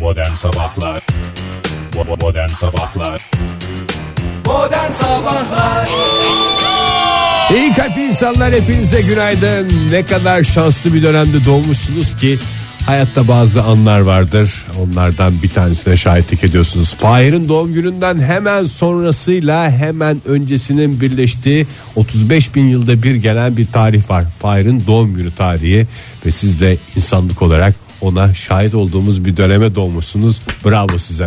Modern Sabahlar Bo- Modern Sabahlar Modern Sabahlar İyi kalpli insanlar hepinize günaydın. Ne kadar şanslı bir dönemde doğmuşsunuz ki hayatta bazı anlar vardır. Onlardan bir tanesine şahitlik ediyorsunuz. Fahir'in doğum gününden hemen sonrasıyla hemen öncesinin birleştiği 35 bin yılda bir gelen bir tarih var. Fahir'in doğum günü tarihi ve siz de insanlık olarak ona şahit olduğumuz bir döneme doğmuşsunuz. Bravo size.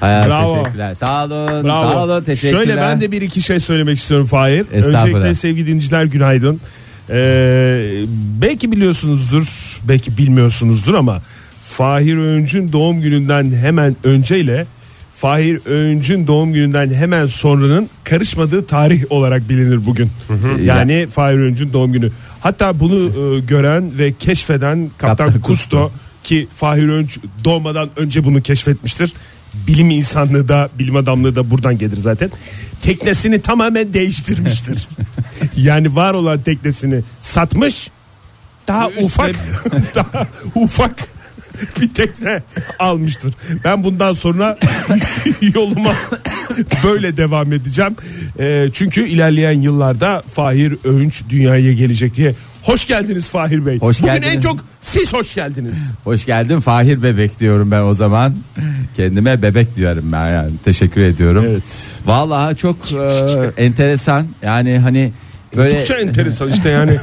Hayal Bravo. teşekkürler. Sağ olun. Bravo. Sağ olun. Teşekkürler. Şöyle ben de bir iki şey söylemek istiyorum Fahir. Estağfurullah. Öncelikle sevgili dinleyiciler günaydın. Ee, belki biliyorsunuzdur, belki bilmiyorsunuzdur ama Fahir Öğüncü'nün doğum gününden hemen önceyle Fahir Öğüncü'nün doğum gününden hemen sonranın karışmadığı tarih olarak bilinir bugün. yani Fahir Öğüncü'nün doğum günü. Hatta bunu e, gören ve keşfeden Kaptan, Kaptan Kusto, ki Fahir Önç doğmadan önce bunu keşfetmiştir. Bilim insanlığı da bilim adamlığı da buradan gelir zaten. Teknesini tamamen değiştirmiştir. yani var olan teknesini satmış. Daha ufak daha ufak bir tekne almıştır. Ben bundan sonra yoluma böyle devam edeceğim. Ee, çünkü ilerleyen yıllarda Fahir Öğünç dünyaya gelecek diye. Hoş geldiniz Fahir Bey. Hoş Bugün en geldiniz. çok siz hoş geldiniz. Hoş geldin Fahir Bebek diyorum ben o zaman. Kendime bebek diyorum ben yani. Teşekkür ediyorum. Evet. Vallahi çok e, enteresan. Yani hani böyle Oldukça enteresan işte yani.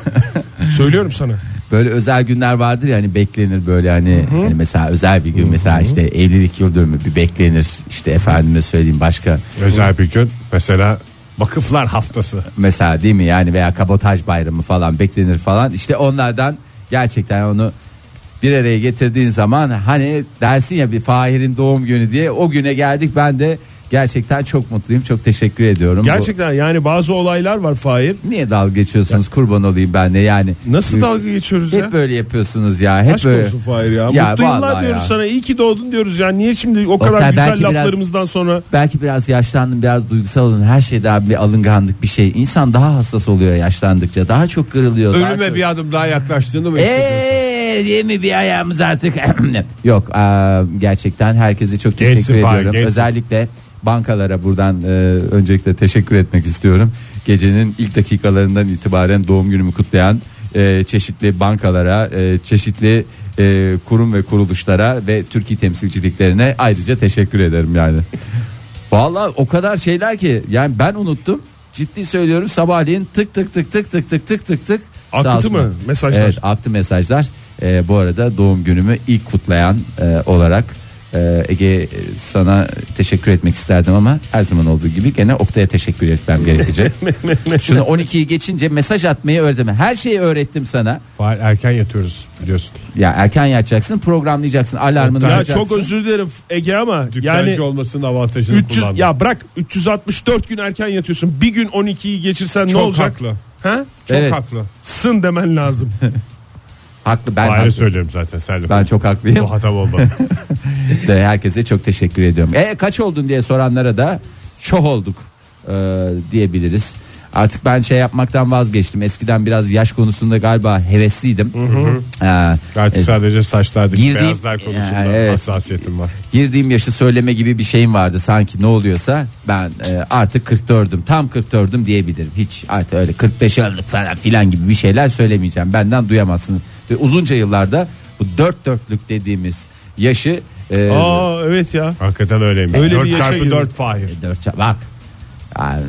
Söylüyorum sana. böyle özel günler vardır ya hani beklenir böyle hani, hani mesela özel bir gün mesela işte evlilik yıl dönümü bir beklenir. İşte efendime söyleyeyim başka Özel bir gün mesela vakıflar haftası. mesela değil mi yani veya kabotaj bayramı falan beklenir falan işte onlardan gerçekten onu bir araya getirdiğin zaman hani dersin ya bir Fahir'in doğum günü diye o güne geldik ben de gerçekten çok mutluyum çok teşekkür ediyorum. Bu- Gerçekten yani bazı olaylar var Fahir. niye dalga geçiyorsunuz kurban olayım ben de yani. Nasıl dalga geçiyoruz ya? Hep böyle yapıyorsunuz ya hep Aşk böyle. olsun Fahir ya. Ya Mutlu yıllar vallahi diyoruz ya. sana. İyi ki doğdun diyoruz ya. Niye şimdi o kadar kadar belki güzel biraz- laflarımızdan sonra Belki biraz yaşlandım biraz duygusal olun her şeyden bir alınganlık bir şey. İnsan daha hassas oluyor yaşlandıkça daha çok kırılıyor. daha çok- Ee? Ölüme bir adım daha yaklaştığını mı hissediyorsun? Eee diye mi bir ayağımız artık? Yok eee, gerçekten herkese çok teşekkür Gelsin Fahir, ediyorum. gelsin. Özellikle bankalara buradan eee, öncelikle teşekkür etmek istiyorum. Gecenin ilk dakikalarından itibaren doğum günümü kutlayan eee, çeşitli bankalara, eee, çeşitli eee, kurum ve kuruluşlara ve Türkiye temsilciliklerine ayrıca teşekkür ederim yani. Vallahi o kadar şeyler ki yani ben unuttum. Ciddi söylüyorum sabahleyin tık tık tık tık tık tık tık tık tık. Aktı Sağ olsun. mı mesajlar? Evet aktı mesajlar. Ee, bu arada doğum günümü ilk kutlayan e, olarak e, Ege e, sana teşekkür etmek isterdim ama her zaman olduğu gibi gene Oktay'a teşekkür etmem gerekecek. Şunu 12'yi geçince mesaj atmayı öğrettim. Her şeyi öğrettim sana. Fahir erken yatıyoruz biliyorsun. Ya erken yatacaksın, programlayacaksın, alarmını ya açacaksın. çok özür dilerim Ege ama Dükkancı yani olmasının avantajını 300 kullandım. ya bırak 364 gün erken yatıyorsun. Bir gün 12'yi geçirsen Çok ne olacak? haklı. Ha? Çok Evet. haklı. Sın demen lazım. Haklı ben Fahir'e haklı. söylüyorum zaten sen de. Ben çok haklıyım. Bu hatam olmadı. Ve herkese çok teşekkür ediyorum. E kaç oldun diye soranlara da şoh olduk e, diyebiliriz. Artık ben şey yapmaktan vazgeçtim. Eskiden biraz yaş konusunda galiba hevesliydim. E, Artık e, sadece saçlardaki Girdiğim- beyazlar konusunda Yani evet. hassasiyetim var. girdiğim yaşı söyleme gibi bir şeyim vardı sanki ne oluyorsa ben e, artık 44'üm tam 44'üm diyebilirim hiç artık öyle 45 yıllık falan filan gibi bir şeyler söylemeyeceğim benden duyamazsınız ve uzunca yıllarda bu dört dörtlük dediğimiz yaşı e, Aa evet ya. Hakikaten öyleymiş. Öyle bir 4 yaşa çarpı girdim. 4 Fahir. dört çar- bak yani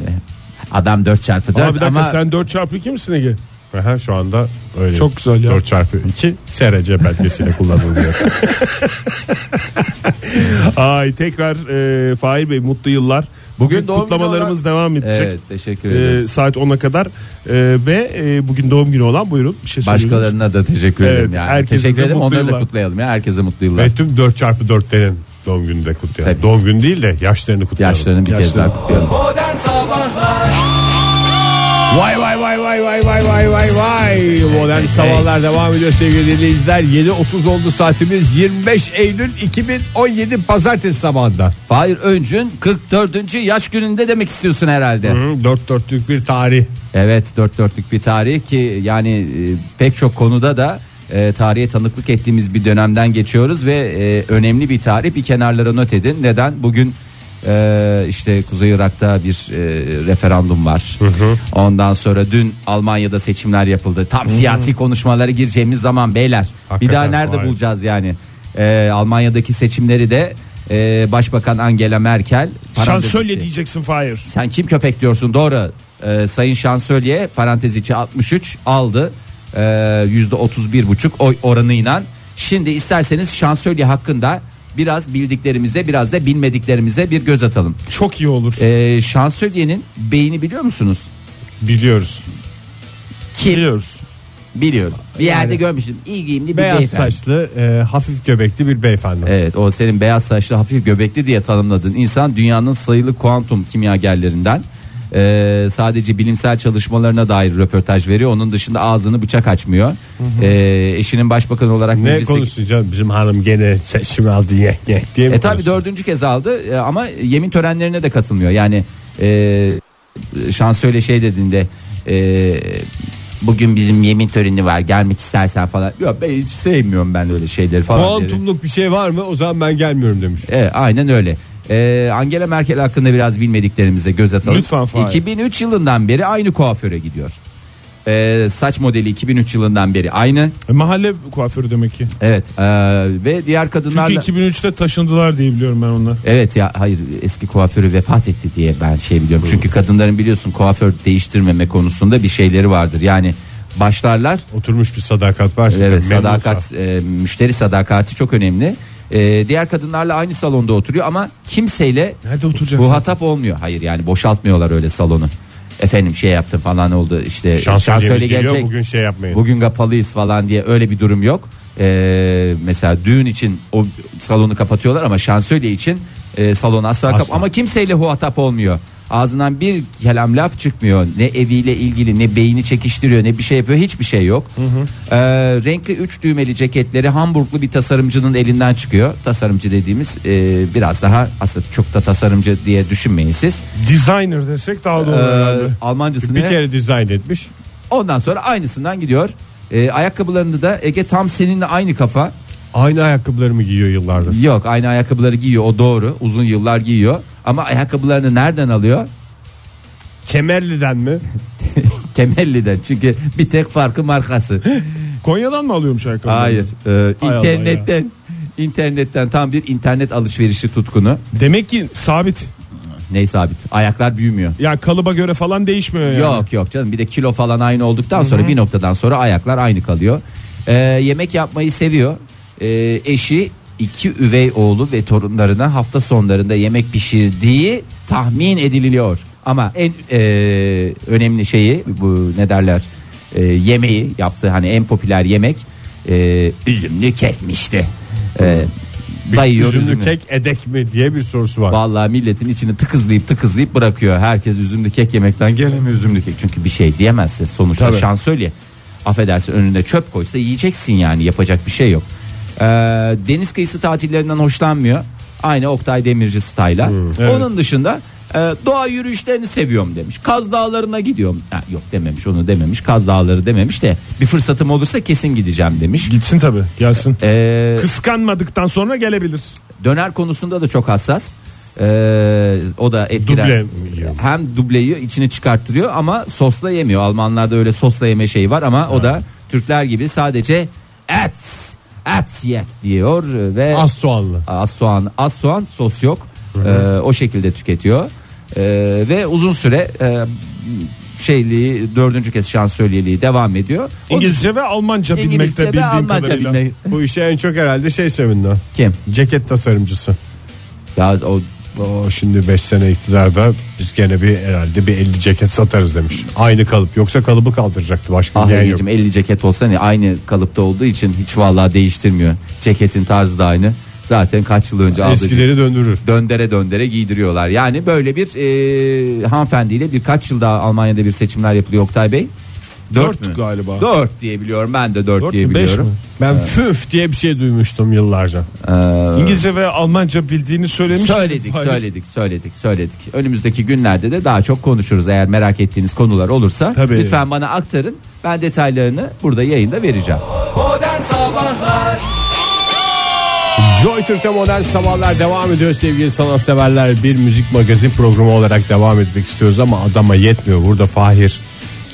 adam 4 çarpı 4 Ama bir dakika ama sen 4 çarpı 2 misin Ege? Aha, şu anda öyle. Çok güzel ya. 4 çarpı 2 SRC belgesiyle kullanılıyor. Ay tekrar e, Fahir Bey mutlu yıllar. Bugün, doğum günü kutlamalarımız olan- devam edecek. Evet teşekkür E, ederiz. saat 10'a kadar E, ve e, bugün doğum günü olan buyurun bir şey söyleyeyim. Başkalarına da teşekkür Evet, ederim yani. herkese Teşekkür de ederim. mutlu Onları da yıllar. kutlayalım ya. Herkese mutlu yıllar. Ve tüm 4 çarpı 4'lerin doğum gününü de kutlayalım. Tabii. Doğum günü değil de yaşlarını kutlayalım. Yaşlarını bir kez daha kutlayalım. Modern Sabahlar Vay vay vay vay vay vay vay vay vay. Modern sabahlar devam ediyor sevgili dinleyiciler. 7.30 oldu saatimiz 25 Eylül 2017 Pazartesi sabahında. Fahir Öncü'nün 44. yaş gününde demek istiyorsun herhalde. Hı, Dört dörtlük bir tarih. Evet dört dörtlük bir tarih ki yani e, pek çok konuda da e, tarihe tanıklık ettiğimiz bir dönemden geçiyoruz ve e, önemli bir tarih bir kenarlara not edin. Neden? Bugün e, işte Kuzey Irak'ta bir e, referandum var. Ondan sonra dün Almanya'da seçimler yapıldı. Tam siyasi konuşmalara gireceğimiz zaman beyler bir daha Hakikaten, nerede vay. bulacağız yani? E, Almanya'daki seçimleri de e, Başbakan Angela Merkel parantez Şansölye içi- diyeceksin Fahir. sen kim köpek diyorsun doğru. Ee, Sayın Şansölye parantez içi 63 aldı. Ee, %31,5 oy oranıyla. Şimdi isterseniz Şansölye hakkında biraz bildiklerimize biraz da bilmediklerimize bir göz atalım. Çok iyi olur. Ee, Şansölye'nin beyni biliyor musunuz? Biliyoruz. Kim? Biliyoruz. Biliyoruz. Bir yerde görmüştüm. İyi giyimli bir Beyaz beyefendi. saçlı, e, hafif göbekli bir beyefendi. Evet o senin beyaz saçlı hafif göbekli diye tanımladığın insan dünyanın sayılı kuantum kimyagerlerinden. Ee, sadece bilimsel çalışmalarına dair röportaj veriyor. Onun dışında ağzını bıçak açmıyor. Ee, eşinin başbakan olarak Ne meclise- konuşacağım bizim hanım gene seçim aldı ye ye diye mi E tabi konuşuyor? dördüncü kez aldı e, ama yemin törenlerine de katılmıyor. Yani e, şansölye şey dediğinde e, bugün bizim yemin töreni var gelmek istersen falan. Yok ben hiç sevmiyorum ben öyle şeyleri falan. dedi. Kuantumluk bir şey var mı o zaman ben gelmiyorum demiş. Evet, aynen öyle. Ee, Angela Merkel hakkında biraz bilmediklerimize göz atalım. Lütfen Fahir. 2003 yılından beri aynı kuaföre gidiyor. Ee, saç modeli 2003 yılından beri aynı. E, mahalle kuaförü demek ki. Evet. ee, ve diğer kadınlarla Çünkü 2003'te taşındılar diye biliyorum ben onlar. Evet ya hayır eski kuaförü vefat etti diye ben şey biliyorum. Çünkü kadınların biliyorsun kuaför değiştirmeme konusunda bir şeyleri vardır. Yani başlarlar Oturmuş bir sadakat var. Evet, Memnunsa. sadakat e, müşteri sadakati çok önemli. E, diğer kadınlarla aynı salonda oturuyor ama kimseyle Nerede oturacak bu hatap olmuyor. Hayır yani boşaltmıyorlar öyle salonu. Efendim şey yaptım falan oldu işte Şansölyemiz şansölye geliyor, gelecek. bugün şey yapmayın. Bugün kapalıyız falan diye öyle bir durum yok. E, mesela düğün için o salonu kapatıyorlar ama şansölye için e, salon asla, kap- Asla. ama kimseyle huhatap olmuyor. Ağzından bir kelam laf çıkmıyor. Ne eviyle ilgili ne beyni çekiştiriyor ne bir şey yapıyor hiçbir şey yok. Ee, renkli üç düğmeli ceketleri Hamburglu bir tasarımcının elinden çıkıyor. Tasarımcı dediğimiz e, biraz daha aslında çok da tasarımcı diye düşünmeyin siz. Designer desek daha Ee, doğru herhalde. Almancasını Bir kere dizayn etmiş. ondan sonra aynısından gidiyor. Ee, ayakkabılarında da Ege tam seninle aynı kafa. Aynı ayakkabılarımı giyiyor yıllardır. Yok aynı ayakkabıları giyiyor o doğru uzun yıllar giyiyor. Ama ayakkabılarını nereden alıyor? Kemerli'den mi? Kemelli'den çünkü bir tek farkı markası. Konya'dan mı alıyormuş ayakkabıları? Hayır. Ee, Hay Allah internetten internetten tam bir internet alışverişi tutkunu. Demek ki sabit. Neyse abi ayaklar büyümüyor. Ya kalıba göre falan değişmiyor yani. Yok yok canım bir de kilo falan aynı olduktan sonra bir noktadan sonra ayaklar aynı kalıyor. Ee, yemek yapmayı seviyor. Ee, eşi iki üvey oğlu ve torunlarına hafta sonlarında yemek pişirdiği tahmin edililiyor. Ama en e, önemli şeyi bu ne derler e, yemeği yaptığı hani en popüler yemek e, üzümlü kekmişti. E, dayıyor Üzümlü üzümü. kek edek mi diye bir sorusu var. Vallahi milletin içini tıkızlayıp tıkızlayıp bırakıyor. Herkes üzümlü kek yemekten gelemiyor üzümlü kek. Çünkü bir şey diyemezsin sonuçta Tabii. şansölye. Affedersin önüne çöp koysa yiyeceksin yani yapacak bir şey yok. Ee, deniz kıyısı tatillerinden hoşlanmıyor. Aynı Oktay Demirci style'a. Onun dışında e, doğa yürüyüşlerini seviyorum demiş. Kaz Dağları'na gidiyorum. Ha, yok dememiş onu dememiş. Kaz Dağları dememiş de bir fırsatım olursa kesin gideceğim demiş. Gitsin tabi gelsin. Ee, Kıskanmadıktan sonra gelebilir. Döner konusunda da çok hassas. Ee, o da etkiler. Duble yiyor. Hem dubleyi içini çıkarttırıyor ama sosla yemiyor. Almanlarda öyle sosla yeme şeyi var ama o da Türkler gibi sadece et et yet diyor ve Az soğanlı. az soğan az soğan sos yok. Ee, o şekilde tüketiyor. Ee, ve uzun süre e, şeyliği dördüncü kez şansölyeliği devam ediyor. O- İngilizce ve Almanca İngilizce bilmekte ve bildiğim Almanca kadarıyla. bilmek. Bu işe en çok herhalde şey sevindi. Kim? Ceket tasarımcısı. Ya o O şimdi 5 sene iktidarda biz gene bir herhalde bir 50 ceket satarız demiş. Aynı kalıp yoksa kalıbı kaldıracaktı başka Ah bir diyen yok. Ege'cim, 50 ceket olsa ne aynı kalıpta olduğu için hiç vallahi değiştirmiyor. Ceketin tarzı da aynı. Zaten kaç yıl önce aldı. Eskileri döndürür. Döndere döndere giydiriyorlar. Yani böyle bir e, hanımefendiyle birkaç yıl daha Almanya'da bir seçimler yapılıyor Oktay Bey. Dört, Dört mü? galiba. Dört diye biliyorum ben de dört, Dört diye mü, beş biliyorum. mi? Ben füf diye bir şey duymuştum yıllarca. İngilizce ve Almanca bildiğini söylemiş. Ee, Söyledik, Hayır. söyledik, söyledik, söyledik. Önümüzdeki günlerde de daha çok konuşuruz. Eğer merak ettiğiniz konular olursa Tabii. lütfen bana aktarın. Ben detaylarını burada yayında vereceğim. Modern Modern Sabahlar Joy Türk'te modern sabahlar devam ediyor sevgili sanatseverler. Bir müzik magazin programı olarak devam etmek istiyoruz ama adama yetmiyor. Burada Fahir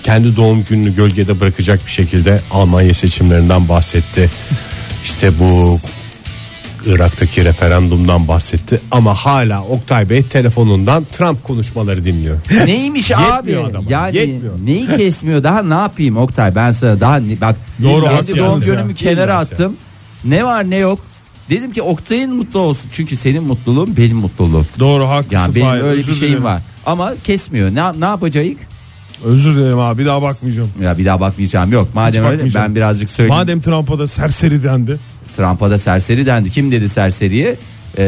kendi doğum gününü gölgede bırakacak bir şekilde Almanya seçimlerinden bahsetti. İşte bu Irak'taki referandumdan bahsetti ama hala Oktay Bey telefonundan Trump konuşmaları dinliyor. Neymiş Yetmiyor abi? adama, Yani yetmiyor. neyi kesmiyor daha ne yapayım Oktay ben sana daha ne- bak Doğru, kendi haklısınız doğum ya. günümü kenara Bilmez ya. attım. Ne var ne yok. Dedim ki Oktay'ın mutlu olsun. Çünkü senin mutluluğun benim mutluluğum. Doğru haklısın. Yani benim Fahir, öyle bir özür şeyim dilerim. var. Ama kesmiyor. Ne, ne yapacağız? Özür dilerim abi bir daha bakmayacağım. Ya bir daha bakmayacağım. Yok madem öyle bakmayacağım. ben birazcık söyleyeyim. Madem Trump'a da serseri dendi. Trump'a da serseri dendi. Kim dedi serseriye? Ee,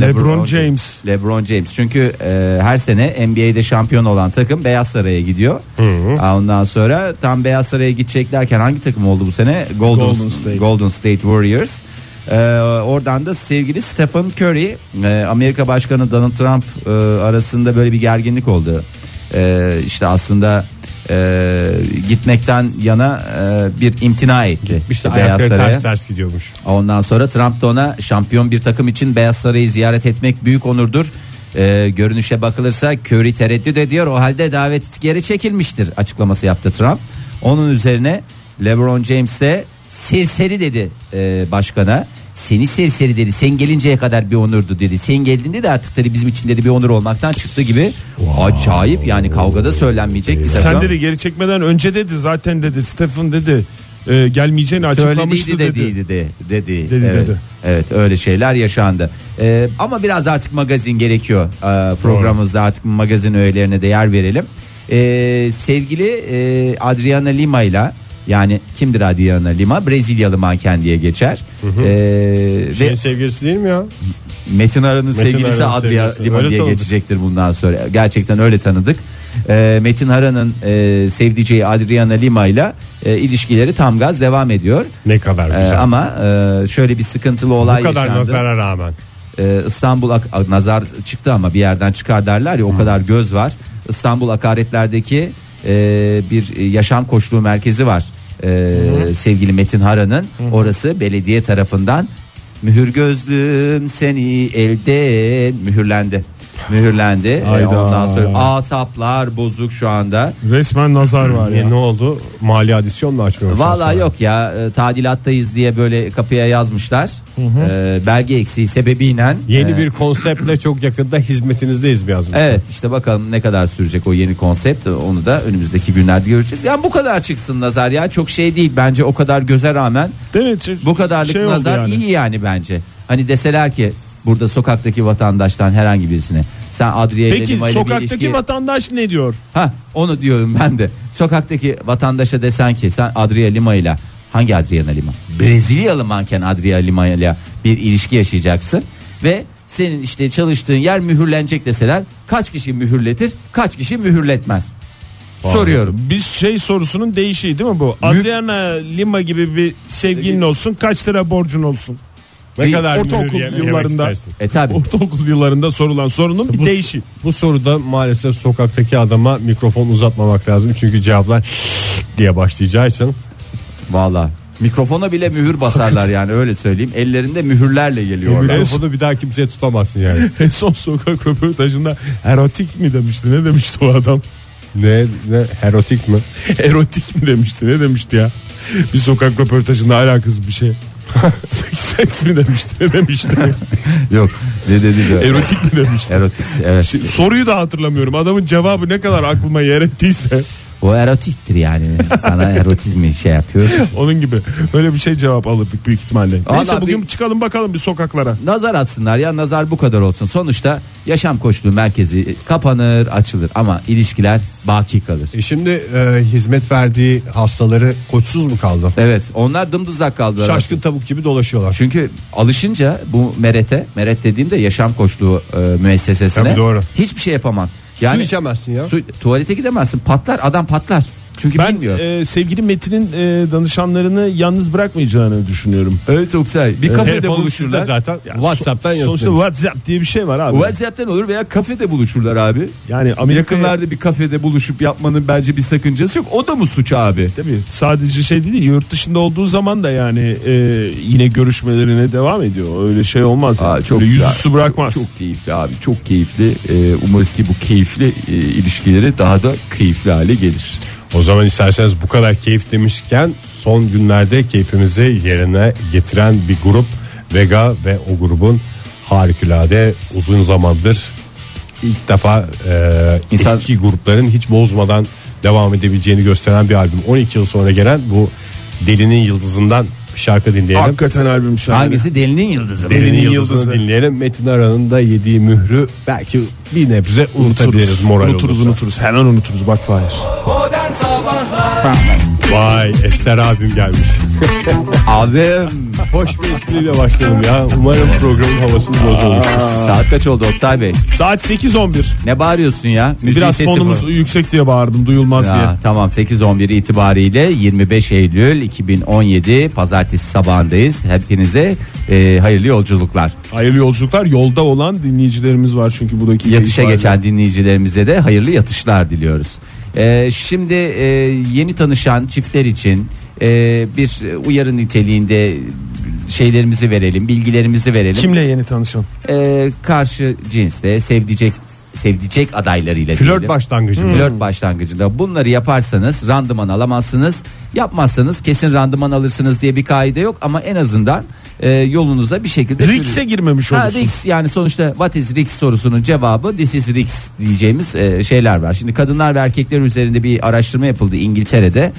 LeBron James. LeBron James. Çünkü e, her sene NBA'de şampiyon olan takım Beyaz Saray'a gidiyor. Aa, Ondan sonra tam Beyaz Saray'a gideceklerken hangi takım oldu bu sene? Golden, Golden Golden State. State. Warriors. Ee, oradan da sevgili Stephen Curry, e, Amerika Başkanı Donald Trump e, arasında böyle bir gerginlik oldu. E, işte aslında e, gitmekten yana e, bir imtina etti. İşte Beyaz ayakları Saray'a. ters ters gidiyormuş. Ondan sonra Trump da ona şampiyon bir takım için Beyaz Saray'ı ziyaret etmek büyük onurdur. Ee, görünüşe bakılırsa Curry tereddüt ediyor. O halde davet geri çekilmiştir açıklaması yaptı Trump. Onun üzerine LeBron James de serseri dedi e, başkana. Seni serseri dedi. Sen gelinceye kadar bir onurdu dedi. Sen geldiğinde de artık dedi bizim için dedi bir onur olmaktan çıktı gibi. Acayip yani kavgada söylenmeyecek bir Sen takım. dedi geri çekmeden önce dedi zaten dedi Stephen dedi e, gelmeyeceğini açıklamıştı Söylediydi dedi. dediydi de, dedi. Dedi, evet. dedi. Evet öyle şeyler yaşandı. Ee, ama biraz artık magazin gerekiyor. Ee, programımızda artık magazin öğelerine de yer verelim. Ee, sevgili e, Adriana Lima ile yani kimdir Adriana Lima? Brezilyalı manken diye geçer. Ee, Şeyin ve sevgilisi değil mi ya? Metin Arı'nın sevgilisi Şey, Arı'nın Adriana sevgilisi. Lima Öyle diye tanıdık. geçecektir bundan sonra. Gerçekten öyle tanıdık. Ee, Metin Arı'nın e, sevdiceği Adriana Lima ile e, ilişkileri tam gaz devam ediyor. Ne kadar Ee, güzel. ama e, şöyle bir sıkıntılı olay Bu kadar yaşandı. nazara rağmen. Ee, İstanbul ak- a- nazar çıktı ama bir yerden çıkar derler ya o kadar göz var. İstanbul Akaretler'deki e, bir e, yaşam koçluğu merkezi var. Ee, sevgili Metin Hara'nın orası belediye tarafından mühür gözlüm seni elden mühürlendi. Mühürlendi. Ee, Hayda. ondan sonra asaplar bozuk şu anda. Resmen nazar var ya. E, ne oldu? Mali adisyon mu açmıyorsunuz? Vallahi yok ya e, tadilattayız diye böyle kapıya yazmışlar. Ee, belge eksiği sebebiyle. Yeni e, bir konseptle çok yakında hizmetinizdeyiz mi yazmış? Evet işte bakalım ne kadar sürecek o yeni konsept onu da önümüzdeki günlerde göreceğiz. Yani bu kadar çıksın nazar ya çok şey değil bence o kadar göze rağmen Değil mi? bu kadarlık Şey oldu nazar yani. iyi yani bence. Hani deseler ki burada sokaktaki vatandaştan herhangi birisine sen Adriye Peki Lima ile bir sokaktaki ilişki- vatandaş ne diyor? Ha onu diyorum ben de. Sokaktaki vatandaşa desen ki sen Adriana Lima ile hangi Adriana Lima? Brezilyalı manken Adriana Lima ile bir ilişki yaşayacaksın ve senin işte çalıştığın yer mühürlenecek deseler kaç kişi mühürletir, kaç kişi mühürletmez? Soruyorum. Biz şey sorusunun değişiği değil mi bu? Adriana Lima gibi bir sevgilin olsun kaç lira borcun olsun? Ne Bir kadar ortaokul mühür ye- yemek yıllarında. istersin? E tabi. Oh. Ortaokul yıllarında sorulan sorunun bir değişi. Bu soruda maalesef sokaktaki adama mikrofon uzatmamak lazım. Çünkü cevaplar diye başlayacağı için. Valla. Mikrofona bile mühür basarlar yani öyle söyleyeyim. Ellerinde mühürlerle geliyorlar. Mikrofonu bir daha kimseye tutamazsın yani. En son sokak röportajında erotik mi demişti ne demişti o adam? ne, ne erotik mi? Erotik mi demişti ne demişti ya? Bir sokak röportajında alakası bir şey. seks, seks mi demişti ne demişti? Yok. Ne dedi diyor. Erotik mi demişti? Erotik. Evet. Şey, soruyu da hatırlamıyorum. Adamın cevabı ne kadar aklıma yer ettiyse O erotiktir yani. Sana erotizmi şey yapıyor. onun gibi. Böyle bir şey cevap alırdık büyük ihtimalle. Neyse Vallahi bugün bir- çıkalım bakalım bir sokaklara. Nazar atsınlar ya nazar bu kadar olsun. Sonuçta yaşam koçluğu merkezi kapanır açılır ama ilişkiler baki kalır. E şimdi e, hizmet verdiği hastaları koçsuz mu kaldı? Evet onlar dımdızlak kaldılar. Şaşkın tavuk gibi dolaşıyorlar. Çünkü alışınca bu merete meret dediğimde yaşam koçluğu e, müessesesine Tabii doğru. hiçbir şey yapamam. Su içemezsin ya. su- tuvalete gidemezsin patlar adam patlar. Çünkü Ben bilmiyor. e, sevgili Metin'in e, danışanlarını yalnız bırakmayacağını düşünüyorum. evet Oktay. Bir kafede Telefonu buluşurlar. sizde zaten Ya, WhatsApp'tan so- Sonuçta yazıyor. WhatsApp diye bir şey var abi. WhatsApp'tan olur veya kafede buluşurlar abi. Yani Amerika'ya- Yakınlarda bir kafede buluşup yapmanın bence bir sakıncası yok. O da mı suç abi? Tabii sadece şey değil yurt dışında olduğu zaman da yani e, yine görüşmelerine devam ediyor. Öyle şey olmaz. Yani. Aa, çok Öyle güzel. yüzüstü bırakmaz. Çok keyifli abi çok keyifli. Ee, umarız ki bu keyifli e, ilişkileri daha da keyifli hale gelir. O zaman isterseniz bu kadar keyif demişken son günlerde keyfimizi yerine getiren bir grup Vega ve o grubun harikulade uzun zamandır ilk defa e, İnsan- eski grupların hiç bozmadan devam edebileceğini gösteren bir albüm. 12 yıl sonra gelen bu Delinin Yıldızı'ndan bir şarkı dinleyelim. Hakikaten albüm şahane. Hangisi delinin yıldızı? mı? Delinin Delinin Yıldızı'nı Yıldızı. dinleyelim. Metin Aran'ın da yediği mührü belki bir nebze unutabiliriz moral unuturuz olursa. unuturuz. Hemen unuturuz bak Fahir. Modern Sabahlar Vay Ester abim gelmiş. Abim Hoş bir espriyle başladım ya. Umarım programın havasını bozulur. saat kaç oldu Oktay Bey? Saat 8.11. Ne bağırıyorsun ya? Müziğin Biraz sesi fonumuz bu. yüksek diye bağırdım duyulmaz diye. Ya, tamam 8-11 itibariyle 25 Eylül 2017 Pazartesi sabahındayız. Hepinize e, hayırlı yolculuklar. Hayırlı yolculuklar. Yolda olan dinleyicilerimiz var çünkü bu dakika Yatışa itibariyle. geçen dinleyicilerimize de hayırlı yatışlar diliyoruz. E, şimdi e, yeni tanışan çiftler için e, bir uyarı niteliğinde şeylerimizi verelim, bilgilerimizi verelim. Kimle yeni tanışan? E, karşı cinste sevdicek sevdicek adaylarıyla Flört Hmm. diyelim. başlangıcı. mı? Flört başlangıcında bunları yaparsanız randıman alamazsınız. Yapmazsanız kesin randıman alırsınız diye bir kaide yok ama en azından e, yolunuza bir şekilde Riks'e girmemiş Ha, olursun. Riks yani sonuçta what is Riks sorusunun cevabı this is Riks diyeceğimiz e, şeyler var. Şimdi kadınlar ve erkekler üzerinde bir araştırma yapıldı İngiltere'de.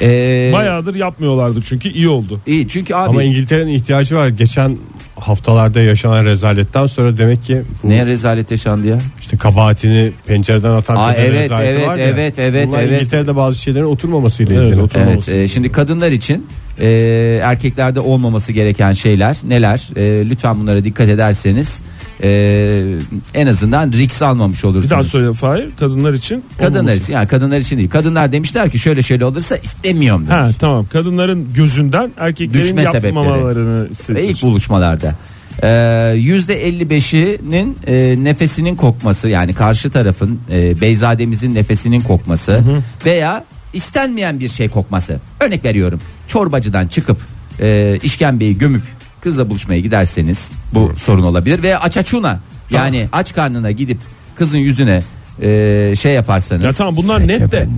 E, Bayağıdır yapmıyorlardı çünkü iyi oldu. iyi çünkü abi Ama İngiltere'nin ihtiyacı var. Geçen haftalarda yaşanan rezaletten sonra demek ki bu ne rezalet yaşandı ya. işte kabahatini pencereden atan Aa, kadın evet, rezaleti evet, var ya. evet, evet, Bunlar evet. İngiltere'de bazı şeylerin oturmamasıyla Evet, ilgili. oturmaması. Evet, e, şimdi kadınlar için e, erkeklerde olmaması gereken şeyler neler? E, lütfen bunlara dikkat ederseniz e, en azından risk almamış Bir daha olursunuz. söyle Fahir kadınlar için. Kadınlar olmaması. için, yani kadınlar için değil. Kadınlar demişler ki şöyle şöyle olursa istemiyorum Ha demiş. tamam kadınların gözünden erkeklerin Düşme yapmamalarını Ve istedik. ilk buluşmalarda. E, %55'inin e, nefesinin kokması yani karşı tarafın e, Beyzademizin nefesinin kokması veya istenmeyen bir şey kokması. Örnek veriyorum çorbacıdan çıkıp e, işkembeyi gömüp kızla buluşmaya giderseniz bu sorun olabilir. Veya açaçuna yani aç karnına gidip kızın yüzüne e, şey yaparsanız. Ya tamam bunlar net de.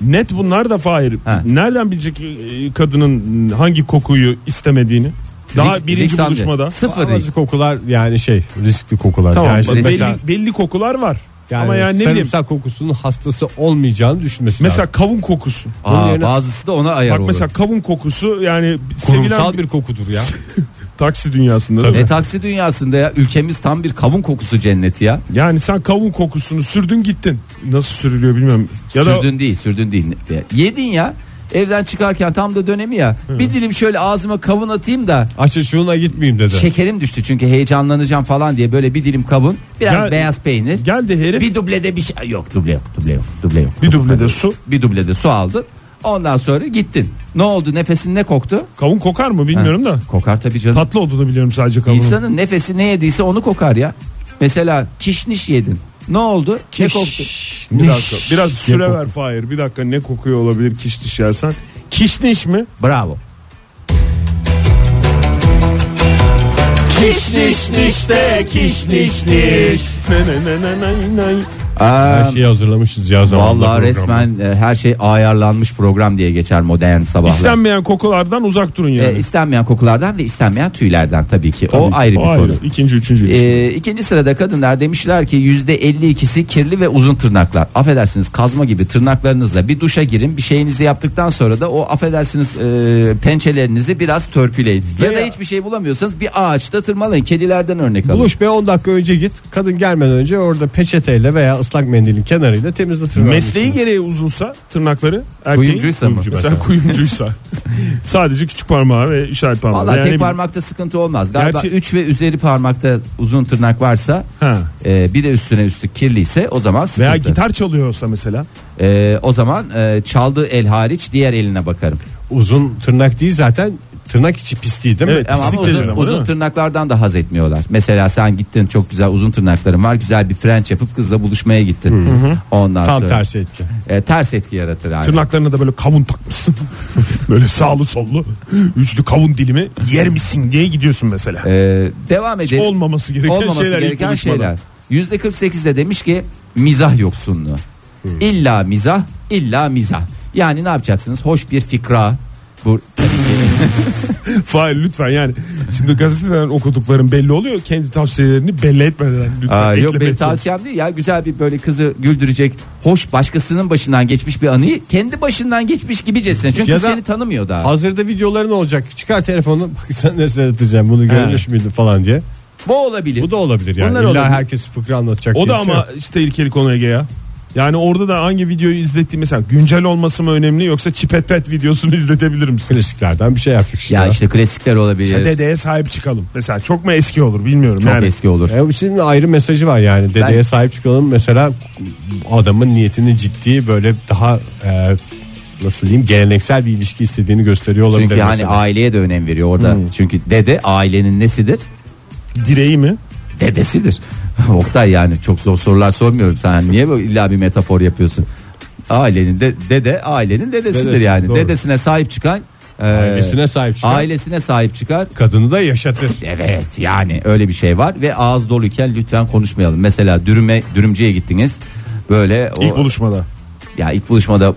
Net bunlar da Fahir. Ha. Nereden bilecek e, kadının hangi kokuyu istemediğini? Daha Riks- birinci risksandı. buluşmada. Sıfır risk. Bazı kokular yani şey riskli kokular. Tamam yani, bak, şimdi mesela, belli, belli kokular var. yani Ama yani ne bileyim. sarımsak kokusunun hastası olmayacağını düşünmesi Mesela lazım. kavun kokusu. Aa, Bunun yerine- bazısı da ona ayar Bak olur. mesela kavun kokusu yani kurumsal sevilen bir kokudur ya. taksi dünyasında. değil Ve mi? taksi dünyasında ya ülkemiz tam bir kavun kokusu cenneti ya. Yani sen kavun kokusunu sürdün gittin. Nasıl sürülüyor bilmiyorum. Ya da sürdün değil, sürdün değil. Yedin ya. Evden çıkarken tam da dönemi ya. Bir dilim şöyle ağzıma kavun atayım da Açın şuna gitmeyeyim dedi. şekerim düştü çünkü heyecanlanacağım falan diye böyle bir dilim kavun, biraz Ya- beyaz peynir. geldi herif bir, Bir dublede bir şey Ay, yok, duble yok, duble yok, duble yok. dublede su. Bir dublede su aldın. Ondan sonra gittin. Ne oldu? Nefesin ne koktu? Kavun kokar mı bilmiyorum da. Kokar tabii canım. Tatlı olduğunu biliyorum sadece kavunun. İnsanın nefesi ne yediyse onu kokar ya. Mesela kişniş yedin. Ne oldu? Ne koktu? Bir dakika. Biraz süre ver Fahir. Bir dakika ne kokuyor olabilir kişniş yersen. Kişniş mi? Bravo. Kişniş nişte kişniş niş. Ne ne ne ne ne ne. Aa, Her şey şeyi hazırlamışız ya zamanında. Vallahi programda. resmen e, her şey ayarlanmış program diye geçer modern sabahlar. İstenmeyen kokulardan uzak durun yani. E, istenmeyen kokulardan ve istenmeyen tüylerden tabii ki. o ayrı bir O ayrı. konu. İkinci, üçüncü. E, ikinci sırada kadınlar demişler ki yüzde 52'si kirli ve uzun tırnaklar. Affedersiniz kazma gibi tırnaklarınızla bir duşa girin bir şeyinizi yaptıktan sonra da o affedersiniz e, pençelerinizi biraz törpüleyin. ya da hiçbir şey bulamıyorsanız bir ağaçta tırmalayın. Kedilerden örnek alın. Buluş be 10 dakika önce git. Kadın gelmeden önce orada peçeteyle veya ıslak mendilin kenarıyla temizletir. Mesleği gereği uzunsa tırnakları erkeğin Kuyumcuysa mı? Mesela kuyumcuysa. Sadece küçük parmağı ve işaret parmağı. Valla Yani tek parmakta sıkıntı olmaz. Galiba Gerçi- 3 ve üzeri parmakta uzun tırnak varsa Ha. e, bir de üstüne üstlük kirliyse o zaman sıkıntı. Veya gitar çalıyorsa mesela. E, o zaman e, çaldığı el hariç diğer eline bakarım. Uzun tırnak değil zaten tırnak içi pisliği değil mi? Evet. Ama Pislik uzun, dedin ama E, değil uzun mi? tırnaklardan da haz etmiyorlar. Mesela sen gittin çok güzel uzun tırnakların var. Güzel bir french yapıp kızla buluşmaya gittin. Ondan Tam sonra tersi etki. e, ters etki yaratır abi. Tırnaklarına da böyle kavun takmışsın. böyle sağlı sollu üçlü kavun dilimi yer misin diye gidiyorsun mesela. E, devam edelim. Olmaması gereken Olmaması şeyler. ilk gereken buluşmada. şeyler. Yüzde 48 de demiş ki mizah yoksunluğu. İlla mizah, illa mizah. Yani ne yapacaksınız? Hoş bir fikra. Bu tabii ki Fahir lütfen yani. Şimdi gazeteden okudukların belli oluyor. Kendi tavsiyelerini belli etmeden lütfen Aa, yok eklemeye benim çalış. tavsiyem değil ya güzel bir böyle kızı güldürecek hoş başkasının başından geçmiş bir anıyı kendi başından geçmiş gibicesine çünkü Ya da- seni tanımıyor daha. Hazırda videoların olacak. Çıkar telefonu. Bak sen ne seyredeceğim bunu görmüş müydün falan diye. Bu olabilir. Bu da olabilir yani. Bunlar İlla olabilir. herkes fıkra anlatacak. diye O da bir şey ama yok. işte tehlikeli konu Ege ya. Yani orada da hangi videoyu izlettiği mesela güncel olması mı önemli yoksa çipet pet videosunu izletebilir misin? klasiklerden bir şey yapacak işte. ya işte klasikler olabilir. Mesela dedeye sahip çıkalım. Mesela çok mu eski olur bilmiyorum. şey Çok yani. eski olur. E, bu şimdi ayrı mesajı var yani dedeye Ben- sahip çıkalım mesela adamın niyetini ciddi böyle daha e, nasıl diyeyim geleneksel bir ilişki istediğini gösteriyor olabilir. Çünkü hani mesela. Hmm. aileye de önem veriyor orada. Çünkü dede ailenin nesidir? Direği mi? dedesidir. Oktay yani çok zor sorular sormuyorum sen niye böyle illa bir metafor yapıyorsun? Ailenin de dede ailenin dedesidir Dedesi, yani. doğru. Dedesine sahip çıkan e, ailesine sahip çıkan ailesine sahip çıkar. kadını da yaşatır. Evet yani öyle bir şey var ve ağız doluyken lütfen konuşmayalım. Mesela dürüme dürümcüye gittiniz. Böyle o İlk buluşmada. ya ilk buluşmada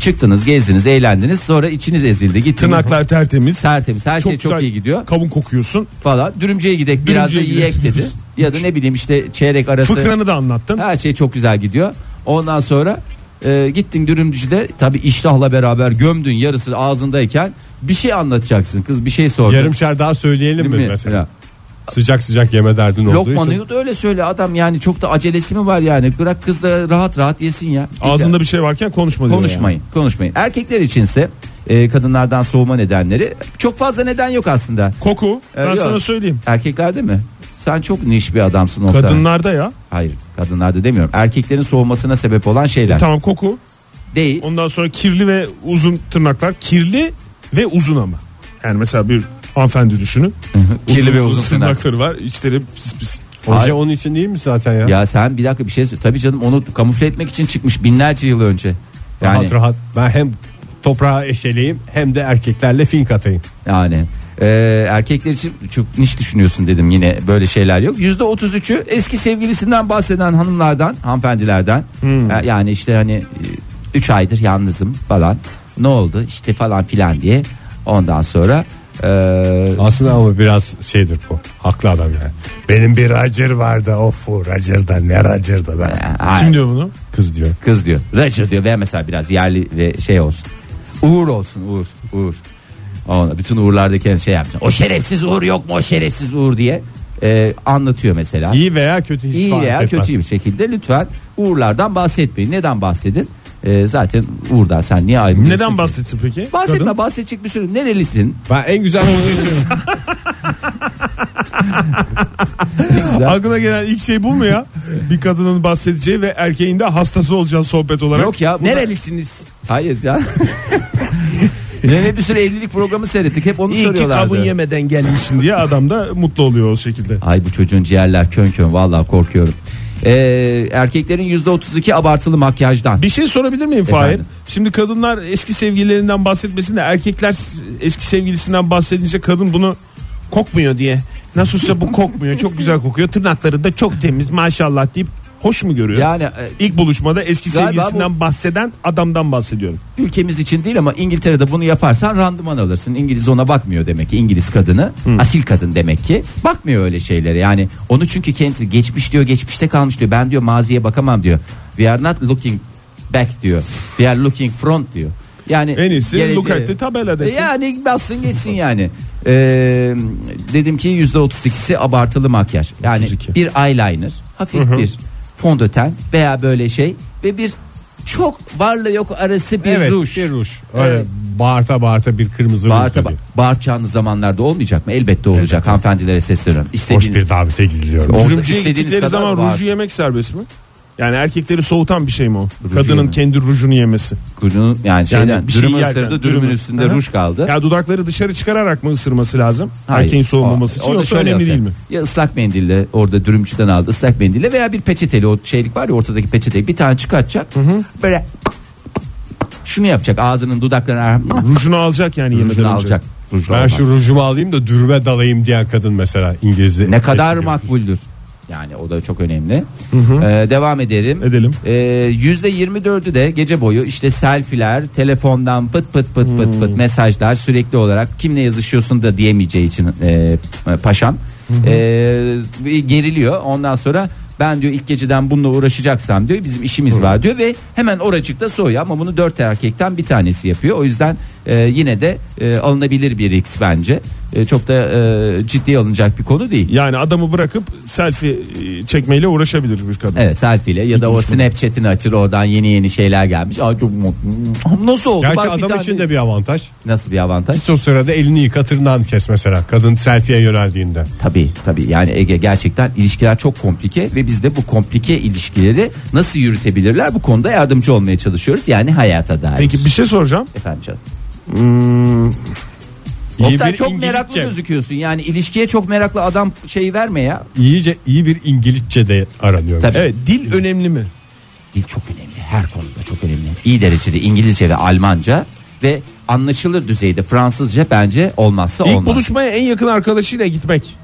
çıktınız, gezdiniz, eğlendiniz. Sonra içiniz ezildi. Gittiniz. Tırnaklar tertemiz. tertemiz. Her şey çok güzel iyi gidiyor Kavun kokuyorsun. falan. Dürümcüye gidek biraz da Dürümcüye yiyek dedi. Ya da ne bileyim işte çeyrek arası. Fıkranı da anlattın. Her şey çok güzel gidiyor. Ondan sonra e, gittin dürümcüde tabi iştahla beraber gömdün yarısı ağzındayken bir şey anlatacaksın kız bir şey sordu. Yarımşar daha söyleyelim mi, Değil mi? mesela? Ya. Sıcak sıcak yeme derdin olduğu için. Lokmanı da öyle söyle adam yani çok da acelesi mi var yani bırak kız da rahat rahat yesin ya. Bir de Ağzında bir şey varken konuşma diyor. konuşmayın konuşmayın. Erkekler içinse e, kadınlardan soğuma nedenleri çok fazla neden yok aslında. yani. Koku. Ben Ee, sana yok. söyleyeyim. Erkeklerde mi? Sen çok niş bir adamsın Oktay. Kadınlarda ya. Hayır kadınlarda demiyorum. Erkeklerin soğumasına sebep olan şeyler. Tamam koku. Değil. Ondan sonra kirli ve uzun tırnaklar. Kirli ve uzun ama. Yani mesela bir hanımefendi düşünün. Kirli ve uzun tırnak. tırnakları var. İçleri pis pis. Oje Hayır. onun için değil mi zaten ya? Ya sen bir dakika bir şey söyle. Tabii canım onu kamufle etmek için çıkmış binlerce yıl önce. Yani Rahat rahat. Ben hem toprağa eşeleyim hem de erkeklerle fink atayım. yani Ee, erkekler için çok niş düşünüyorsun dedim yine böyle şeyler yok. Yüzde otuz üçü eski sevgilisinden bahseden hanımlardan, hanımefendilerden. Ee, Yani işte hani e, üç aydır yalnızım falan. Ne oldu işte falan filan diye. Ondan sonra ee, Aslında ama biraz şeydir bu. Haklı adam yani. Benim bir Roger vardı. Of o Roger'da ne Roger'da ben. Kim diyor bunu? Kız diyor. Kız diyor. Roger diyor ve mesela biraz yerli ve şey olsun. Uğur olsun Uğur. Uğur. Ona bütün Uğur'lardaki şey yapsın. O şerefsiz Uğur yok mu o şerefsiz Uğur diye e, anlatıyor mesela. İyi veya kötü hiç İyi fark veya etmez. kötü bir şekilde lütfen Uğur'lardan bahsetmeyin. Neden bahsedin? E, zaten Uğur'dan sen niye ayrılıyorsun? Neden ki? bahsetsin peki? Bahsetme Kadın. bahsedecek bir sürü. Nerelisin? Ben en güzel Aklına gelen ilk şey bu mu ya? bir kadının bahsedeceği ve erkeğin de hastası olacağı sohbet olarak. Yok ya. bu da- Nerelisiniz? Hayır ya. Ne bir sürü evlilik programı seyrettik. Hep onu İyi ki soruyorlardı. kavun yemeden gelmişim diye adam da mutlu oluyor o şekilde. Ay bu çocuğun ciğerler kön kön vallahi korkuyorum. Ee, erkeklerin %32 abartılı makyajdan. Bir şey sorabilir miyim Fahir? Efendim? Şimdi kadınlar eski sevgililerinden bahsetmesin de erkekler eski sevgilisinden bahsedince kadın bunu kokmuyor diye. Nasılsa bu kokmuyor çok güzel kokuyor tırnakları da çok temiz maşallah deyip hoş mu görüyor? Yani e, İlk buluşmada eski Galiba sevgilisinden bahseden adamdan bahsediyorum. ülkemiz için değil ama İngiltere'de bunu yaparsan randıman alırsın. İngiliz ona bakmıyor demek ki. İngiliz kadını asil kadın demek ki. Bakmıyor öyle şeylere yani. Onu çünkü kendi geçmiş diyor geçmişte kalmış diyor. Ben diyor maziye bakamam diyor. We are not looking back diyor. We are looking front diyor. Yani En iyisi geleceğe- look at the tabela desin. Yani bassın geçsin yani. Ee, dedim ki yüzde %32'si abartılı makyaj. Yani bir eyeliner, hafif bir fondöten veya böyle şey ve bir çok varla yok arası bir evet, ruj. bir ruj. Öyle Evet. bağırta bağırta bir kırmızı ruj Bağırta, tabii. bağıracağınız zamanlarda olmayacak mı? Elbette olacak. Hanımefendilere sesleniyorum. Hoş İstediğiniz, bir davete gidiliyor. Orada Rujumcuya istediğiniz gittikleri kadar zaman var. ruju yemek serbest mi? Yani erkekleri soğutan bir şey mi o? Ruju Kadının yemek. kendi rujunu yemesi. Kuyruğun- yani şeyden bir şey dürümü yerken, ısırdı, dürümü. dürümün üstünde Aha. ruj kaldı. Ya dudakları dışarı çıkararak mı ısırması lazım? Hayır. Erkeğin soğumaması için Orada yoksa önemli yapacak. değil mi? Ya ıslak mendille orada dürümcüden aldı ıslak mendille veya bir peçeteli o şeylik var ya ortadaki peçeteyi bir tane çıkartacak. Böyle şunu yapacak ağzının dudaklarına Rujunu alacak yani yemeden rujunu önce. alacak. Rujla Ben olmaz. şu rujumu alayım da dürüme dalayım diyen kadın mesela İngilizce. Ne kadar etkiliyor. makbuldür. Yani o da çok önemli. Ee, devam edelim. Edelim. Ee, Yüzde %24'ü de gece boyu işte selfiler, telefondan pıt pıt pıt pıt pıt mesajlar sürekli olarak kimle yazışıyorsun da diyemeyeceği için e, paşam Ee, bir geriliyor. Ondan sonra ben diyor ilk geceden bununla uğraşacaksam diyor bizim işimiz var diyor ve hemen oracıkta soğuyor ama bunu dört erkekten bir tanesi yapıyor. O yüzden e, yine de e, alınabilir bir risk bence. E, çok da e, ciddiye alınacak bir konu değil. Yani adamı bırakıp selfie e, çekmeyle uğraşabilir bir kadın. Evet selfie ile ya da o Snapchat'ini açır oradan yeni yeni şeyler gelmiş. Aa, çok mutluyum. Nasıl oldu? Gerçi Bak bir adam tane- için de bir avantaj. Nasıl bir avantaj? Hiç o sırada elini yıka tırnağını kes mesela. Kadın selfie'ye yöneldiğinde. Tabii tabii yani Ege gerçekten ilişkiler çok komplike ve biz de bu komplike ilişkileri nasıl yürütebilirler bu konuda yardımcı olmaya çalışıyoruz. Yani hayata dair. Peki bir şey soracağım. Efendim canım. Hmm. İyi Oktay bir çok İngilizce. meraklı gözüküyorsun yani ilişkiye çok meraklı adam şeyi verme ya. İyice iyi bir İngilizce de aranıyor. Tabii. Evet dil önemli mi? Dil çok önemli. Her konuda çok önemli. İyi derecede İngilizce ve Almanca ve anlaşılır düzeyde Fransızca bence olmazsa İlk olmaz. buluşmaya en yakın arkadaşıyla gitmek.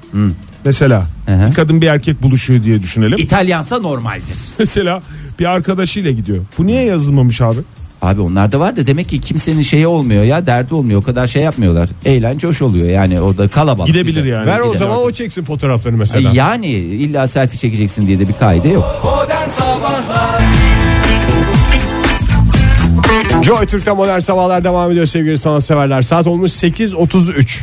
Mesela Hı hı. bir kadın bir erkek buluşuyor diye düşünelim. İtalyansa normaldir. Mesela bir arkadaşıyla gidiyor. Bu niye yazılmamış abi? Abi onlar da var da demek ki kimsenin şeyi olmuyor ya derdi olmuyor o kadar şey yapmıyorlar. Eğlence hoş oluyor yani orada kalabalık. Gidebilir yani. Ver o Bir de- zaman o çeksin fotoğraflarını Ay mesela. E Yani illa selfie çekeceksin diye de bir kaide yok. Modern Sabahlar Joy Türk'te modern sabahlar devam ediyor sevgili sanatseverler. Saat olmuş 8.33.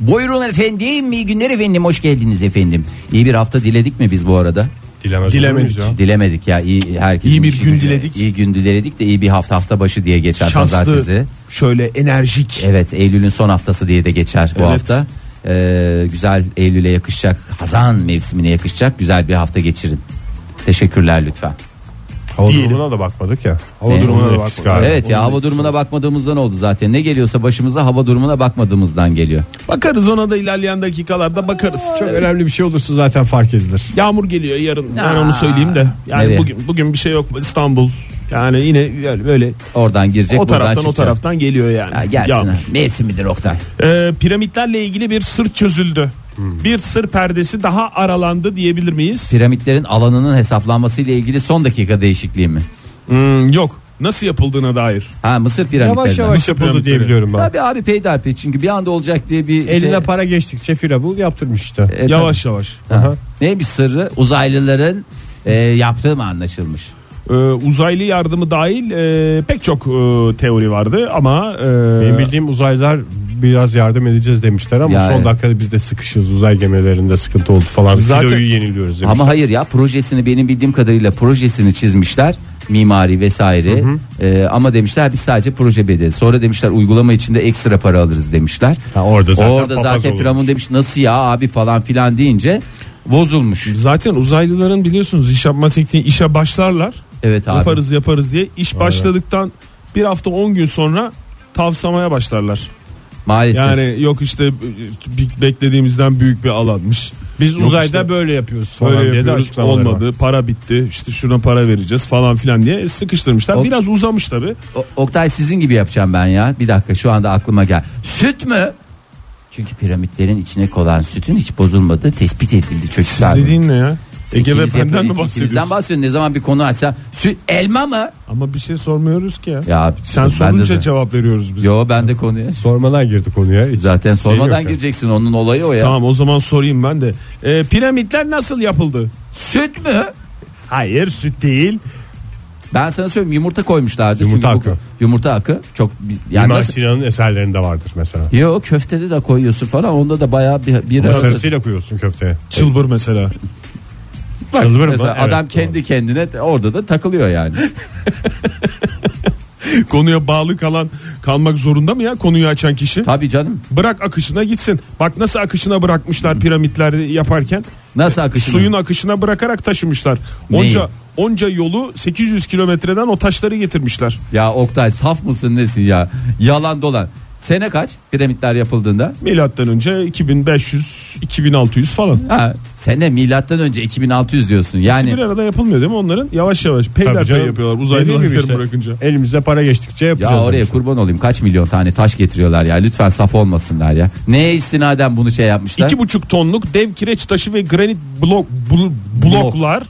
Buyurun efendim iyi günler efendim hoş geldiniz efendim. İyi bir hafta diledik mi biz bu arada? Dilemez Dilemedik. olur muyuz Dilemedik ya iyi herkesin İyi bir işi gün gücü- diledik. İyi gün diledik de iyi bir hafta hafta başı diye geçer pazartesi. Şanslı, şöyle enerjik. Evet Eylül'ün son haftası diye de geçer bu Evet. hafta. Ee, güzel Eylül'e yakışacak Hazan mevsimine yakışacak güzel bir hafta geçirin. Teşekkürler lütfen. ya? Hava Diyelim. durumuna da bakmadık ya. Hava Ne? durumuna da Evet. bakmadık. galiba. Evet ya hava durumuna bakmadığımızdan oldu zaten. Ne geliyorsa başımıza hava durumuna bakmadığımızdan geliyor. Bakarız ona da ilerleyen dakikalarda bakarız. Çok Çok önemli bir şey olursa zaten fark edilir. Yağmur geliyor yarın. Ben Aa. onu söyleyeyim de. Yani Nereye? bugün bugün bir şey yok İstanbul. Yani yine yani böyle Oradan girecek o buradan taraftan o çıkacak. taraftan geliyor yani. Ya gelsin Yağmur. ha. Mevsim midir Oktay? Ee, piramitlerle ilgili bir sır çözüldü. Bir sır perdesi daha aralandı diyebilir miyiz? Piramitlerin alanının hesaplanması ile ilgili son dakika değişikliği mi? Hmm, yok. Nasıl yapıldığına dair. Ha Mısır piramitleri. Yavaş yavaş yapıldı piramitleri. diye biliyorum ben. Tabii abi peyderpey çünkü bir anda olacak diye bir Eline şey. para geçtikçe firavun yaptırmış işte. E, tabii. yavaş yavaş. Ha. Neymiş sırrı? Uzaylıların e, yaptığı mı anlaşılmış? Ee, uzaylı yardımı dahil e, pek çok e, teori vardı ama e, Benim bildiğim uzaylılar biraz yardım edeceğiz demişler ama Yani. son dakikada biz de sıkışıyoruz. Uzay gemilerinde sıkıntı oldu falan. Zaten- Filoyu yeniliyoruz demişler. Ama hayır ya projesini benim bildiğim kadarıyla projesini çizmişler mimari vesaire Ee, ama demişler biz sadece proje bedeli sonra demişler uygulama içinde ekstra para alırız demişler. Ha, orada zaten Orada papaz zaten olurmuş. Firavun demiş nasıl ya abi falan filan deyince bozulmuş. zaten uzaylıların biliyorsunuz iş yapma tekniği işe başlarlar. Evet abi. Yaparız yaparız diye. iş başladıktan bir hafta 10 gün sonra tavsamaya başlarlar. Maalesef. Yani yok işte e, bir- beklediğimizden büyük bir alanmış. Biz Yok uzayda işte. böyle yapıyoruz falan Böyle diye de yapıyoruz açıklamaları var. olmadı. Para bitti. işte şuna para vereceğiz falan filan diye sıkıştırmışlar. O- Biraz uzamış tabii. O- Oktay sizin gibi yapacağım ben ya. Bir dakika şu anda aklıma gel. Süt mü? Çünkü piramitlerin içine konan sütün hiç bozulmadığı tespit edildi Siz çocuklar. dediğin ne ya? Ege ve İkiniz yapın- benden mi ikinizden bahsediyorsun? bahsediyorsun. Ne zaman bir konu açsa süt elma mı? Ama bir şey sormuyoruz ki ya. Ya Sen ben sorunca de- cevap veriyoruz biz. Yo ben de konuya. Sormadan girdi konuya. Hiç Zaten şey sormadan yok ya. gireceksin onun olayı o ya. Tamam o zaman sorayım ben de. Ee, piramitler nasıl yapıldı? Süt mü? Hayır süt değil. Ben sana söyleyeyim yumurta koymuşlardı. Yumurta şey. Çünkü bu- akı. yumurta akı çok yani İmam nasıl? Sinan'ın eserlerinde vardır mesela. Yo köftede de koyuyorsun falan onda da bayağı bir, bir Masarısıyla koyuyorsun köfteye. Çılbır mesela. çıplak. Çıldırırım Mesela ben, evet, adam kendi kendine de orada da takılıyor yani. Konuya bağlı kalan kalmak zorunda mı ya konuyu açan kişi? Tabii canım. Bırak akışına gitsin. Bak nasıl akışına bırakmışlar piramitleri yaparken. Nasıl akışın? Suyun akışına bırakarak taşımışlar. Neyi? Onca onca yolu 800 kilometreden o taşları getirmişler. Ya Oktay saf mısın nesin ya? Yalan dolan. Sene kaç piramitler yapıldığında? Milattan önce 2500 2600 falan. Ha, sene milattan önce 2600 diyorsun. Yani Bir arada yapılmıyor değil mi onların? Yavaş yavaş Hani Tabii peyderpey canım. yapıyorlar Dediğim gibi uzaylıları işte. bırakınca. Elimizde para geçtikçe yapacağız. ya oraya demiş. kurban olayım kaç milyon tane taş getiriyorlar ya lütfen saf olmasınlar ya. Neye istinaden bunu şey yapmışlar? İki buçuk tonluk dev kireç taşı ve granit blok bl- bloklar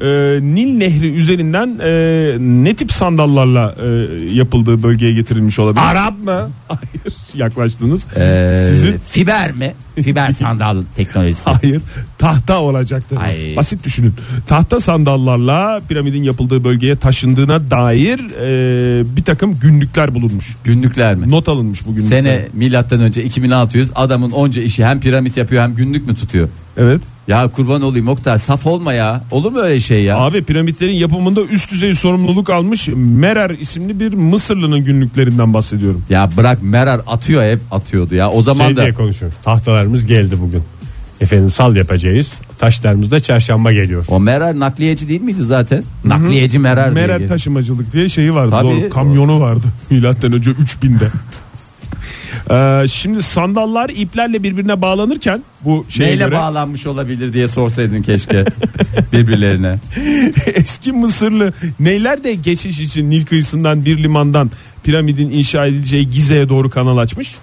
e, Nil Nehri üzerinden e, ne tip sandallarla e, yapıldığı bölgeye getirilmiş olabilir? Arap mı? Hayır yaklaştınız. Ee, Sizin Ah, Fiber mi? Fiber sandal teknolojisi. hayır tahta olacaktı. Ay. Basit düşünün. Tahta sandallarla piramidin yapıldığı bölgeye taşındığına dair e, bir takım günlükler bulunmuş. Günlükler mi? Not alınmış bugün. Sene milattan önce 2600 adamın onca işi hem piramit yapıyor hem günlük mü tutuyor? Evet. Ya kurban olayım Oktay saf olma ya. Olur mu öyle şey ya? Abi piramitlerin yapımında üst düzey sorumluluk almış Merer isimli bir Mısırlı'nın günlüklerinden bahsediyorum. Ya bırak Merar atıyor hep atıyordu ya. O zaman şey da diye konuşuyorum. Tahtalarımız geldi bugün. Efendim sal yapacağız. Taşlarımız da çarşamba geliyor. o Merar nakliyeci değil miydi zaten? Nakliyeci Merar diye Merer geçiyor. taşımacılık diye şeyi vardı. Tabii. Doğru, kamyonu vardı. Milattan önce 3000'de. Ee, şimdi sandallar iplerle birbirine bağlanırken bu şeye Neyle göre bağlanmış olabilir diye sorsaydın keşke birbirlerine. eski Mısırlı neyler de geçiş için Nil kıyısından bir limandan piramidin inşa edileceği Gize'ye doğru kanal açmış.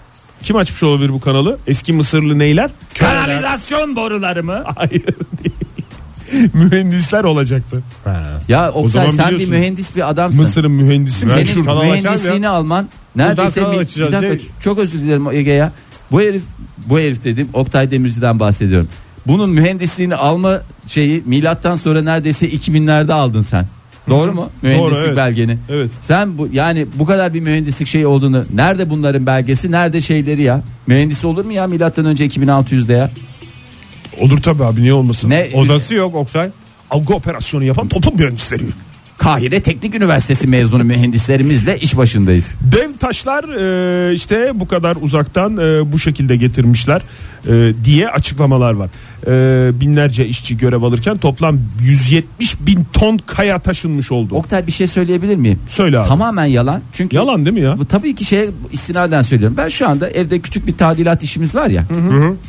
Kim açmış olabilir bu kanalı? Eski Mısırlı neyler? Kanalizasyon boruları mı? Hayır değil. Mühendisler olacaktı. Ya Oktay zaman sen bir biliyorsun. mühendis bir adamsın. Mısır'ın mühendisi Senin meşhur. kanal açar mı mühendisliğini alman neredeyse kanal bir, açacağız bir dakika, diye- çok özür dilerim Ege ya. Bu herif bu herif dedim Oktay Demirci'den bahsediyorum. Bunun mühendisliğini alma şeyi milattan sonra neredeyse 2000'lerde aldın sen. Doğru mu? Mühendislik evet. belgeni. Evet. Sen bu yani bu kadar bir mühendislik şey olduğunu nerede bunların belgesi nerede şeyleri ya? Mühendis olur mu ya milattan önce 2600'de ya? Olur tabii abi niye olmasın? Ne Odası yok Oktay. Algı operasyonu yapan toplum mühendisleri. Kahire Teknik Üniversitesi mezunu mühendislerimizle iş başındayız. Dev taşlar e, işte bu kadar uzaktan e, bu şekilde getirmişler e, diye açıklamalar var. E, binlerce işçi görev alırken toplam 170 bin ton kaya taşınmış oldu. Oktay bir şey söyleyebilir miyim? Söyle abi. Tamamen yalan. Çünkü Yalan değil mi ya? Bu tabii ki şeye istinaden söylüyorum. Ben şu anda evde küçük bir tadilat işimiz var ya.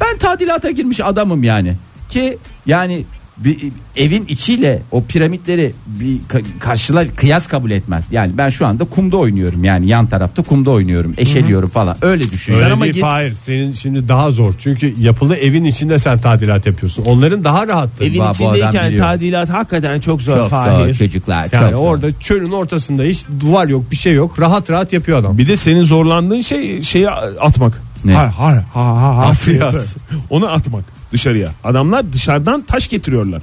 Ben tadilata girmiş adamım yani. Ki yani bir, evin içiyle o piramitleri bir ka- karşıla kıyas kabul etmez. Yani ben şu anda kumda oynuyorum yani yan tarafta kumda oynuyorum, eşeliyorum falan. Öyle düşünüyorum. Öyle Sen ama değil, git- Fahir. Senin şimdi daha zor. Çünkü yapılı evin içinde sen tadilat yapıyorsun. Onların daha rahattır. Evin Vay, bu adam İçindeyken biliyor. tadilat hakikaten çok zor Çok zor Fahir. çocuklar. Yani çok zor. orada çölün ortasında hiç duvar yok bir şey yok. Rahat rahat yapıyor adam. Bir de senin zorlandığın şey şeyi atmak. Ne? Har har ha ha ha. Hafriyat. Onu atmak dışarıya. Adamlar dışarıdan taş getiriyorlar.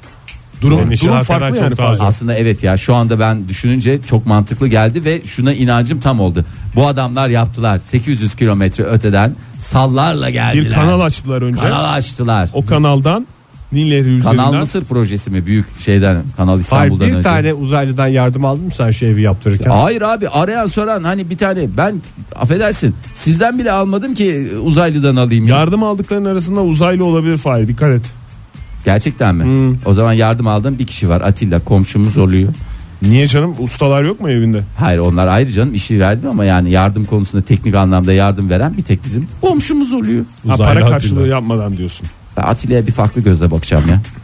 Durum, Senin işin durum hakikaten farklı çok yani. daha Fazla. Aslında evet ya şu anda ben düşününce çok mantıklı geldi ve şuna inancım tam oldu. Bu adamlar yaptılar 800 kilometre öteden sallarla geldiler. Bir kanal açtılar önce. Kanal açtılar. O kanaldan Nil Nehri üzerinden. Kanal Mısır projesi mi büyük şeyden Kanal Hayır İstanbul'dan bir önce. tane uzaylıdan yardım aldın mı sen şu evi yaptırırken? Hayır abi arayan soran hani bir tane ben affedersin sizden bile almadım ki uzaylıdan alayım. ya. Yardım aldıkların arasında uzaylı olabilir Fahir dikkat et. Gerçekten mi? Hmm. O zaman yardım aldığım bir kişi var Atilla komşumuz oluyor. Niye canım ustalar yok mu evinde? Hayır onlar ayrı canım işi verdim ama yani yardım konusunda teknik anlamda yardım veren bir tek bizim komşumuz oluyor. Ha, Uzaylı para Atilla. karşılığı yapmadan diyorsun. Ben Atilla'ya bir farklı gözle bakacağım ya.